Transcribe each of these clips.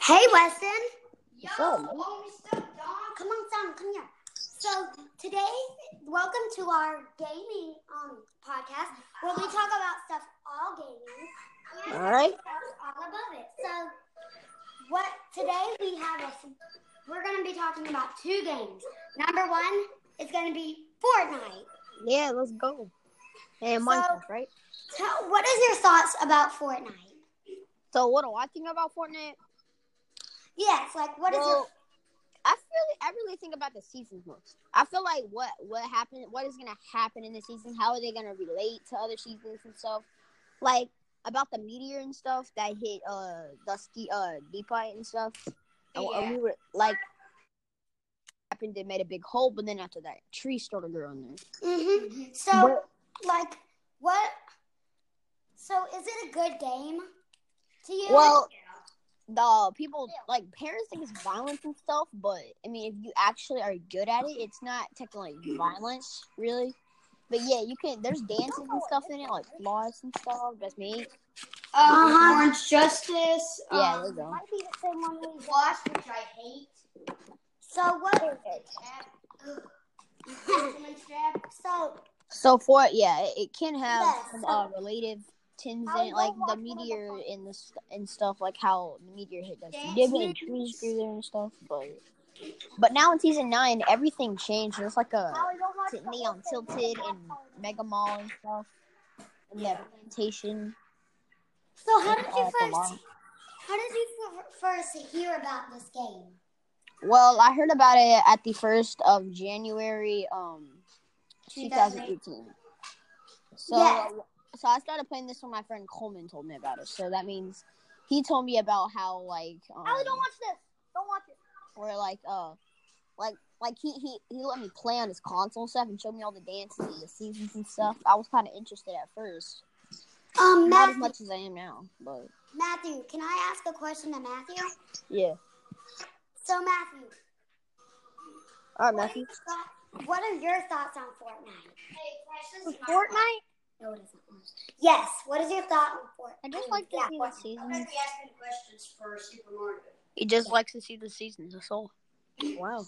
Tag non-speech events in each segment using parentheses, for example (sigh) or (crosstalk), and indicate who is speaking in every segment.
Speaker 1: Hey, Weston.
Speaker 2: Yo,
Speaker 1: What's up?
Speaker 2: want me stuff, dog?
Speaker 1: Come on, son. Come here. So today, welcome to our gaming um podcast where we talk about stuff all gaming.
Speaker 2: Yeah.
Speaker 3: All right.
Speaker 1: all above it. So what today we have a we're gonna be talking about two games. Number one is gonna be Fortnite.
Speaker 3: Yeah, let's go. And
Speaker 1: So-
Speaker 3: Minecraft, right?
Speaker 1: Tell, what is your thoughts about Fortnite?
Speaker 3: So what do I think about Fortnite?
Speaker 1: Yes, like what is
Speaker 3: Well, I feel I really think about the seasons most. I feel like what what happened, what is gonna happen in the season? How are they gonna relate to other seasons and stuff? Like about the meteor and stuff that hit uh Dusky uh Deepi and stuff. And-
Speaker 2: Yeah.
Speaker 3: And we were like happened it made a big hole, but then after that tree started growing there.
Speaker 1: your hmm so like what so is it a good game to you?
Speaker 3: Well, the people like parents think it's violence and stuff, but I mean, if you actually are good at it, it's not technically violence, really. But yeah, you can. There's dances and stuff in it, like floss and stuff. That's me.
Speaker 2: Uh, Orange Justice.
Speaker 3: Yeah,
Speaker 2: um,
Speaker 3: there you go.
Speaker 1: Uh-huh. might be the same one we
Speaker 2: Watch, which I hate.
Speaker 1: So what
Speaker 2: Fisherman's Trap.
Speaker 1: (laughs) so
Speaker 3: So for it, yeah, it, it can have
Speaker 1: Yes.
Speaker 3: some uh, relative tins in it, like the meteor and the st- and stuff, like how the meteor hit us. You did hit trees through there and stuff, but but now in season nine, everything changed. There's like a t- neon tilted and mega mall and stuff. And yeah, plantation.
Speaker 1: So how did
Speaker 3: and
Speaker 1: you
Speaker 3: all the
Speaker 1: first
Speaker 3: lawn.
Speaker 1: how did you f- first hear about this game?
Speaker 3: Well, I heard about it at the first of January, um, 2018. So, uh,
Speaker 1: Yes.
Speaker 3: so I started playing this when my friend Coleman told me about it. So that means he told me about how like um,
Speaker 1: this. Don't watch it.
Speaker 3: or like uh like like he, he he let me play on his console and stuff and showed me all the dances and the seasons and stuff. I was kind of interested at first,
Speaker 1: Um,
Speaker 3: not as
Speaker 1: Matthew,
Speaker 3: much as I am now, but
Speaker 1: Matthew, can I ask a question to Matthew?
Speaker 3: yeah.
Speaker 1: So Matthew,
Speaker 3: All right,
Speaker 1: what are,
Speaker 3: Matthew.
Speaker 1: your thought- what are your thoughts on Fortnite?
Speaker 3: Fortnite.
Speaker 1: No, it isn't. Yes. What is your thought on Fortnite?
Speaker 3: I just like to
Speaker 1: Yeah,
Speaker 3: see the
Speaker 1: Fortnite.
Speaker 2: I'm gonna
Speaker 3: seasons.
Speaker 2: be asking questions for Super Mario.
Speaker 3: He just likes to see the seasons. That's all. Wow,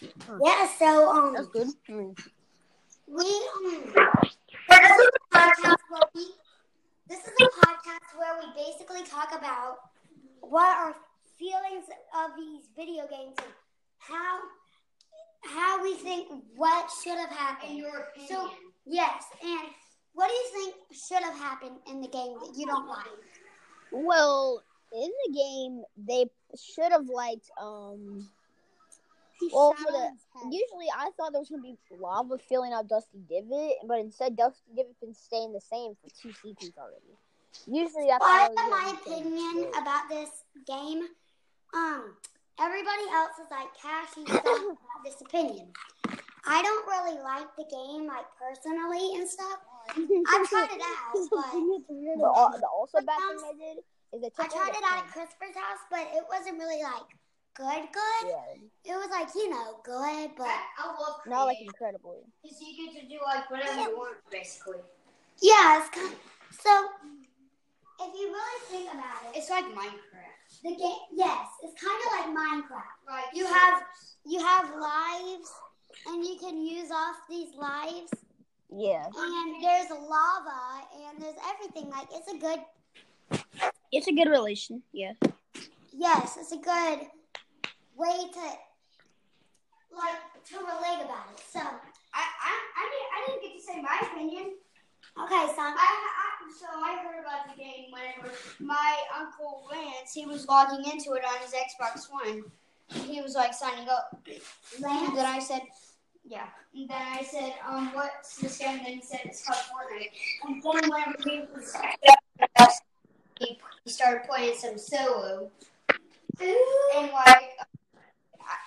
Speaker 1: Yeah. So
Speaker 3: that's
Speaker 1: um,
Speaker 3: good.
Speaker 1: we um, this is a podcast where we this is a podcast where we basically talk about what our feelings of these video games and how how we think what should have happened.
Speaker 2: In your opinion.
Speaker 1: So- Yes, and what do you think should have happened in the game that you don't like?
Speaker 3: Well, in the game, they should have liked. Um, Well, for the- usually I thought there was gonna be lava filling up Dusty Divot, but instead Dusty Divot been staying the same for two seasons already. Usually that's
Speaker 1: Well, I
Speaker 3: how it
Speaker 1: have my
Speaker 3: was gonna be.
Speaker 1: opinion about this game. Um, everybody else is like Cassie stuff about this opinion. I don't really like the game, like personally and stuff. I tried it out,
Speaker 3: (laughs)
Speaker 1: but
Speaker 3: The, al- the also bad thing they did is they
Speaker 1: I
Speaker 3: took
Speaker 1: tried
Speaker 3: away
Speaker 1: it
Speaker 3: the
Speaker 1: out at
Speaker 3: fun.
Speaker 1: Christopher's house, but it wasn't really like good, good.
Speaker 3: Yeah.
Speaker 1: It was like you know good, but
Speaker 2: I love
Speaker 3: Not like incredibly.
Speaker 2: because you get to do like whatever you want, basically.
Speaker 1: yeah, it's kind. so if you really think about it,
Speaker 2: It's like Minecraft.
Speaker 1: The game, yes, it's kind of like Minecraft.
Speaker 2: Like
Speaker 1: You have you have lives, and you can use off these lives.
Speaker 3: Yeah,
Speaker 1: And there's lava, and there's everything. Like it's a good,
Speaker 3: it's a good relation. Yeah,
Speaker 1: yes, it's a good way to like to relate about it. So
Speaker 2: I, I, I, didn't, I didn't get to say my opinion.
Speaker 1: okay,
Speaker 2: I,
Speaker 1: son.
Speaker 2: I, so I heard about the game whenever my uncle Lance he was logging into it on his Xbox One. He was like signing up. And then I said, yeah. And then I said, um, what's this game? And then he said it's called Fortnite. And then whenever he was he, he started playing some solo. And like. I-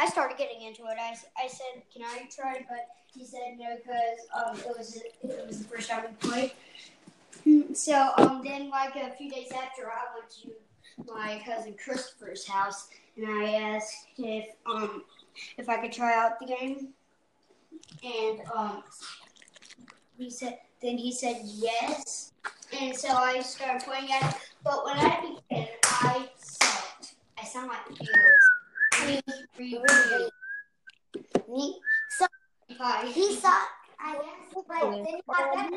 Speaker 2: I started getting into it. I, s- I said, "Can I try?" it?" But he said no because um, it was it was the first time we played. So um, then like a few days after, I went to my cousin Christopher's house and I asked if um if I could try out the game, and um he said then he said yes, and so I started playing at it. But when I began, I sucked. I sound like
Speaker 1: player. Then you got that.
Speaker 2: Yeah.
Speaker 1: He's like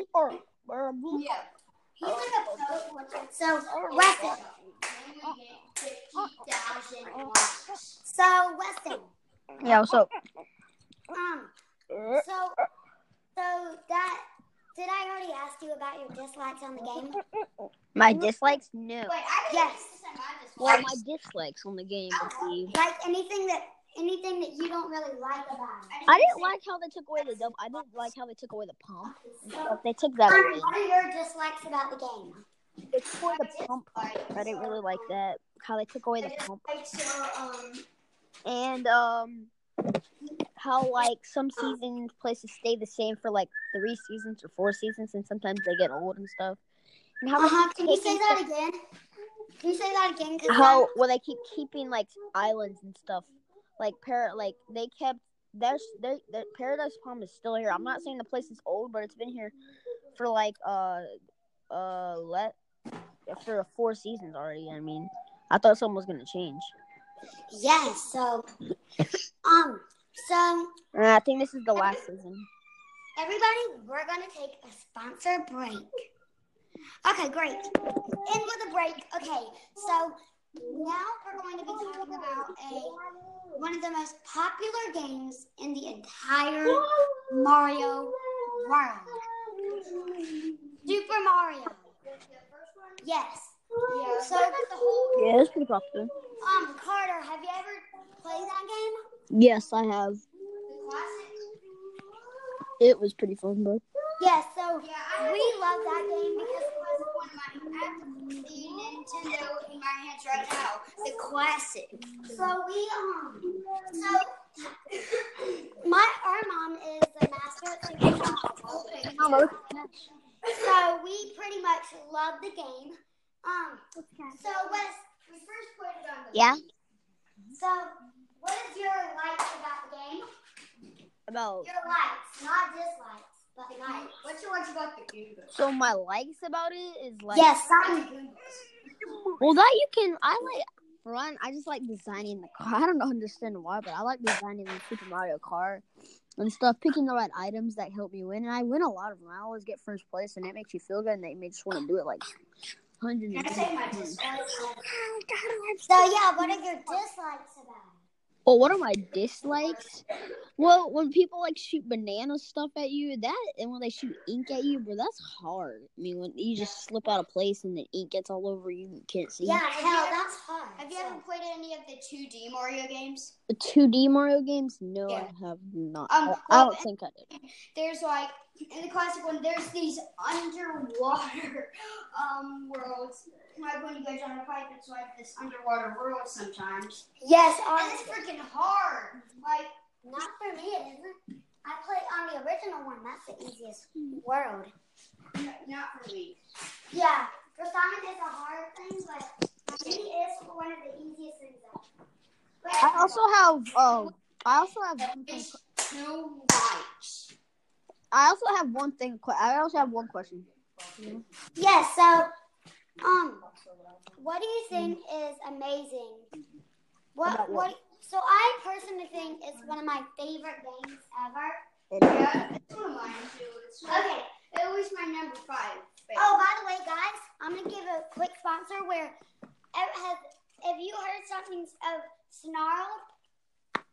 Speaker 1: a pro fortune. So Weston. So Weston.
Speaker 3: Yeah, what's up?
Speaker 1: Um.
Speaker 3: Uh,
Speaker 1: So. So that. Did I already ask you about your dislikes on the game?
Speaker 3: My dislikes? No.
Speaker 2: Wait, I didn't
Speaker 1: Yes.
Speaker 2: decide my this one.
Speaker 3: Well, my dislikes on the game would be.
Speaker 1: Like anything that anything that you don't really like about it.
Speaker 3: I didn't like how they took away the double. I didn't like how they took away the pump.
Speaker 1: So,
Speaker 3: Like, they took that
Speaker 1: um,
Speaker 3: away.
Speaker 1: what are your dislikes about the game?
Speaker 3: They took away the pump. I didn't really like that. How they took away the pump.
Speaker 2: Like, so, um,
Speaker 3: and um how like some seasons places stay the same for like three seasons or four seasons and sometimes they get old and stuff and how,
Speaker 1: Uh-huh. Can you say
Speaker 3: taking
Speaker 1: that again? Can you say that again? 'Cause
Speaker 3: how well they keep keeping like islands and stuff like para like they kept there's their, their paradise palm is still here i'm not saying the place is old but it's been here for like uh uh let for four seasons already i mean i thought something was gonna change
Speaker 1: that- Yes. So, um, so
Speaker 3: and i think this is the last season
Speaker 1: everybody, we're gonna take a sponsor break. Okay, great. End with a break. Okay, so now we're going to be talking about a one of the most popular games in the entire Mario world. Super Mario. Yes.
Speaker 2: yeah.
Speaker 1: So the whole
Speaker 3: yeah it's pretty popular
Speaker 1: um Carter, have you ever played that game?
Speaker 3: Yes, I have.
Speaker 2: The classic.
Speaker 3: It was pretty fun, bro.
Speaker 1: Yes. So
Speaker 2: Yeah, I
Speaker 1: we love that game because
Speaker 2: Because it was one of my, I have the Nintendo in my hands right now. The classic.
Speaker 1: so we um so my our mom is the master at Super Mario. So we pretty much love the game. Um. So Wes,
Speaker 2: We first put it on the.
Speaker 3: Yeah.
Speaker 1: so what is your likes about the game?
Speaker 3: About
Speaker 1: Your likes, not dislikes, but likes.
Speaker 2: What's your watch about the Google?
Speaker 3: so my likes about it is like
Speaker 1: yes. Something.
Speaker 3: Well, that you can. I like run. I just like designing the car. (laughs) I don't understand why, but I like designing the Super Mario car and stuff. Picking the right items that help me win, and I win a lot of them. I always get first place, and it makes you feel good, and it makes you want to do it like hundreds.
Speaker 2: Can I
Speaker 3: of
Speaker 2: say my
Speaker 3: times. Oh,
Speaker 1: So yeah, what are your dislikes about?
Speaker 3: Well, Oh, what are my dislikes? Well, when people like shoot banana stuff at you, that and when they shoot ink at you, bro, that's hard. I mean, when you just slip out of place and the ink gets all over you, and you can't see.
Speaker 1: Yeah, hell,
Speaker 2: you ever-
Speaker 1: that's hard.
Speaker 2: Have you ever played any of the 2D Mario games?
Speaker 3: The 2D Mario games? No,
Speaker 2: Yeah.
Speaker 3: I have not.
Speaker 2: Um,
Speaker 3: I, I
Speaker 2: well,
Speaker 3: don't think I did.
Speaker 2: There's like in the classic one. There's these underwater (laughs) um worlds. Like when you go down a pipe, it's like this underwater world sometimes.
Speaker 1: Yes, on,
Speaker 2: And it's freaking hard. Like
Speaker 1: not for me, it isn't. I play on the original one. That's the easiest world.
Speaker 2: n- not for me.
Speaker 1: Yeah, for Simon it's a hard thing, but for me it's one of the easiest things. ever. But
Speaker 3: I also have. Um, I also have. One thing,
Speaker 2: It's Snow White.
Speaker 3: I also have one thing. que- I also have one question.
Speaker 1: yes, so um, what do you think is amazing? What
Speaker 3: About what?
Speaker 1: what? So I personally think it's one of my favorite games ever.
Speaker 2: Yeah, it's one of mine too. It's okay.
Speaker 1: Okay.
Speaker 2: It was my number five. favorite.
Speaker 1: Oh, by the way, guys, I'm gonna give a quick sponsor where ev- have have you heard something of snarl?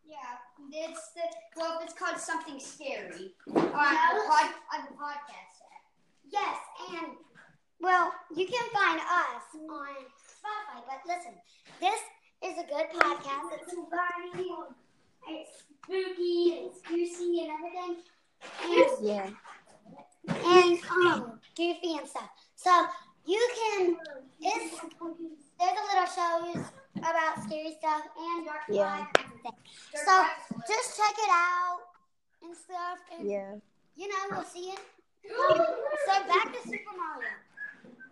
Speaker 2: yeah. It's the well. It's called something scary on the pod, on the podcast app.
Speaker 1: Yes, and well, you can find us on Spotify. But listen, this is a good podcast. It's funny, it's spooky, it's goosey, and everything. And
Speaker 3: Yeah.
Speaker 1: and um goofy and stuff. So you can it's there's a little shows about scary stuff and dark
Speaker 3: Yeah.
Speaker 1: lives and things. So just check it out and stuff and
Speaker 3: Yeah.
Speaker 1: you know we'll see it. Um, so back to Super Mario.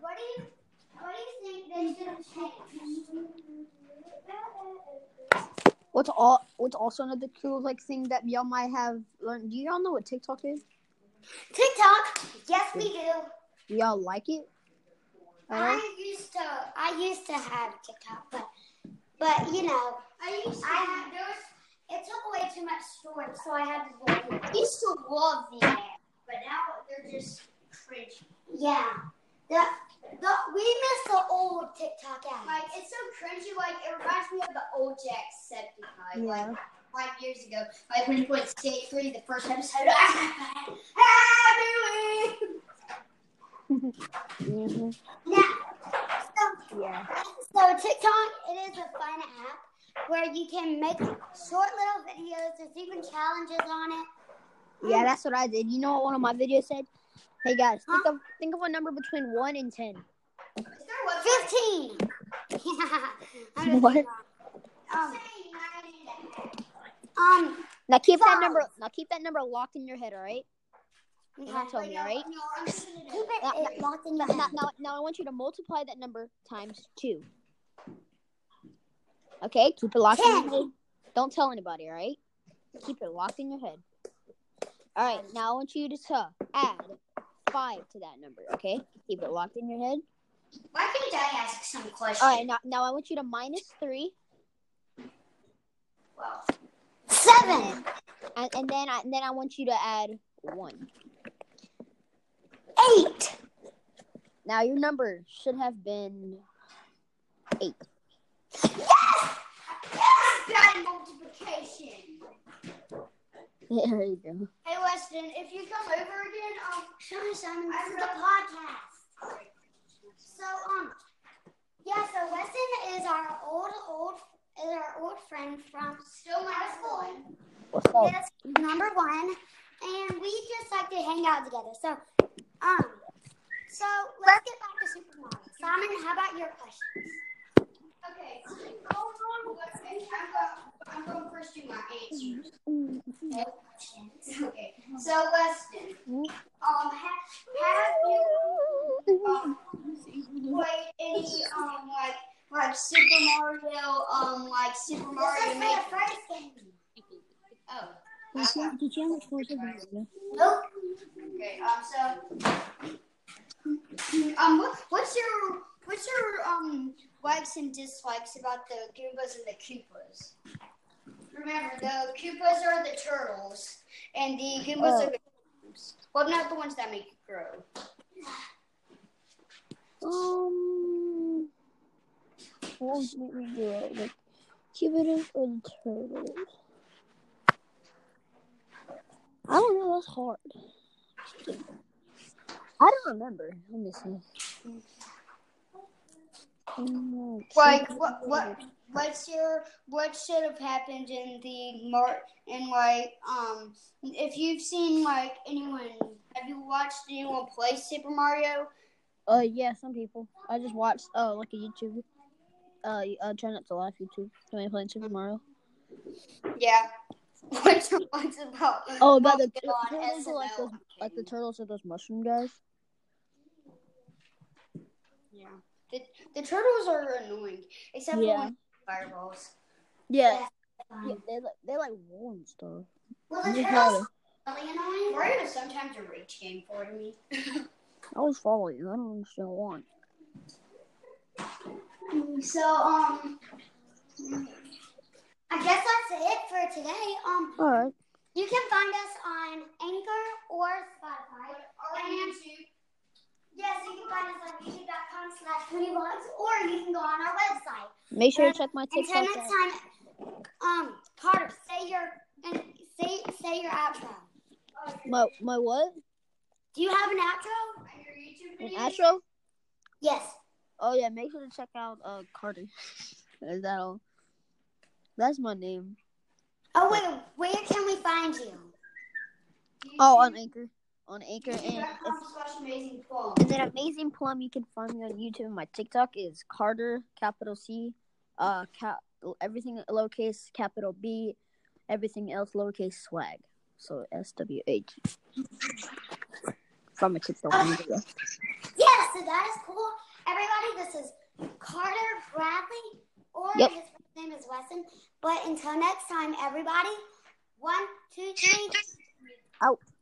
Speaker 1: What do you what do you think they should have changed?
Speaker 3: What's all? What's also another cool like thing that y'all might have learned? Do y'all know what TikTok is?
Speaker 1: TikTok, yes we do.
Speaker 3: Do y'all like it? I don't-
Speaker 1: I used to I used to have TikTok, but but you know
Speaker 2: I used to
Speaker 1: I
Speaker 2: have
Speaker 1: had those. It took away too much storage, so I had to delete it.
Speaker 2: I used to love the app. but now they're just cringe.
Speaker 1: Yeah. The, the, we miss the old TikTok ads.
Speaker 2: Like it's so cringy. Like it reminds me of the old Jacksepticeye. Like
Speaker 3: Yeah.
Speaker 2: five years ago, like when he put State Three, the first episode. (laughs) Happy Wheels.
Speaker 3: hmm
Speaker 1: Now, so
Speaker 3: Yeah.
Speaker 1: So TikTok, it is a fun app where you can make short little videos. There's even challenges on it.
Speaker 3: Yeah, that's what I did. You know what one of my videos said? Hey guys, think of think of a number between one and ten.
Speaker 2: Is there one?
Speaker 3: (laughs)
Speaker 1: Fifteen. I'm just
Speaker 3: What?
Speaker 1: kidding. Um, um,
Speaker 3: Now keep that
Speaker 1: Five.
Speaker 3: number. Now keep that number locked in your head. All right. You're not telling
Speaker 1: okay.
Speaker 3: me, all
Speaker 2: (laughs)
Speaker 3: right?
Speaker 2: No, I'm just gonna do
Speaker 1: keep
Speaker 2: it.
Speaker 1: it, it locked in your
Speaker 3: Now,
Speaker 1: head.
Speaker 3: now, now I want you to multiply that number times two. Okay, keep it locked in
Speaker 1: Ten.
Speaker 3: your head. Don't tell anybody, all right? Keep it locked in your head. All right, now I want you to tell, add five to that number. Okay, keep it locked in your head.
Speaker 2: Why can't I ask some questions?
Speaker 3: All right, now, now I want you to minus three,
Speaker 2: Well,
Speaker 1: Seven.
Speaker 3: and, and then I, and then I want you to add one.
Speaker 1: Eight.
Speaker 3: Now your number should have been (laughs) eight.
Speaker 2: bad multiplication.
Speaker 3: There you go.
Speaker 2: Hey Weston, if you come over again, um,
Speaker 1: Show me, Simon.
Speaker 2: I
Speaker 1: This is the
Speaker 2: forgot-
Speaker 1: podcast. So um, yeah. So Weston is our old old is our old friend from
Speaker 2: still my
Speaker 1: High school.
Speaker 2: school.
Speaker 3: What's up?
Speaker 1: Yes, number one, and we just like to hang out together. So, um, so let's get back to Supermodel. Simon, how about your question?
Speaker 2: Okay, hold on. Let's see. I'm go- I'm going first to my answers. (laughs) Okay, so Weston, um, ha- have you um, played any um like like Super Mario um like Super
Speaker 1: This
Speaker 2: Mario
Speaker 1: is
Speaker 2: Maker?
Speaker 1: the first game.
Speaker 2: Oh,
Speaker 3: Did you have
Speaker 1: Nope.
Speaker 2: okay. Um, so um, what, what's your what's your um likes and dislikes about the Goombas and the Koopas? Remember, the Koopas are the turtles, and the Goombas
Speaker 3: Oh.
Speaker 2: are the Goombas. Well, not the ones that make you grow.
Speaker 3: Um, what would you do it? Like Cupidus or the turtles? I don't know. That's hard. I don't remember. Let me see. Um,
Speaker 2: Like what? What? What's your? What should have happened in the Mar? And like, um, if you've seen like anyone, have you watched anyone play Super Mario?
Speaker 3: Uh, yeah, some people. I just watched uh like a YouTube. Uh, uh, try not to laugh. YouTube. When I playing Super Mario.
Speaker 2: Yeah. (laughs) What's your thoughts about?
Speaker 3: Oh, about the
Speaker 2: Pokemon
Speaker 3: turtles are like
Speaker 2: SNL?
Speaker 3: those, like the turtles are those mushroom guys.
Speaker 2: Yeah. The, the turtles are annoying, except
Speaker 3: Yeah.
Speaker 2: for when fireballs.
Speaker 3: Yeah,
Speaker 1: Um,
Speaker 3: yeah they're like they're like wool and stuff.
Speaker 1: Well,
Speaker 3: I
Speaker 1: the
Speaker 3: just
Speaker 1: turtles
Speaker 3: gotta-
Speaker 1: are really annoying.
Speaker 2: Mario is sometimes a rage game for me.
Speaker 3: I always follow you. I don't understand why.
Speaker 2: So um,
Speaker 1: I guess that's it for today. Um,
Speaker 3: All right.
Speaker 1: you can find us on Anchor or Spotify.
Speaker 2: on YouTube,
Speaker 1: Yes, you can find us on youtube.com slash vlogs, or you can go on our website.
Speaker 3: Make sure to check my
Speaker 1: Until
Speaker 3: TikTok.
Speaker 1: next
Speaker 3: out.
Speaker 1: time, um, Carter, say your and say say your outro.
Speaker 3: My my what?
Speaker 1: Do you have an outro?
Speaker 2: on your YouTube
Speaker 3: An
Speaker 2: video.
Speaker 3: outro?
Speaker 1: Yes.
Speaker 3: Oh yeah. Make sure to check out uh Carter. (laughs) Is that all? That's my name.
Speaker 1: Oh wait, where can we find you?
Speaker 3: Oh, on Anchor. On Anchor and.
Speaker 2: YouTube.com slash amazing plum.
Speaker 3: And then Amazing Plum, you can find me on YouTube. My TikTok is Carter, capital C, uh, cap, everything lowercase, capital B, everything else lowercase swag. So S W H. From a TikTok video.
Speaker 1: Yes, so that is cool. Everybody, this is Carter Bradley, or
Speaker 3: Yep.
Speaker 1: his first name is Wesson. But until next time, everybody, one, two, three.
Speaker 3: Out.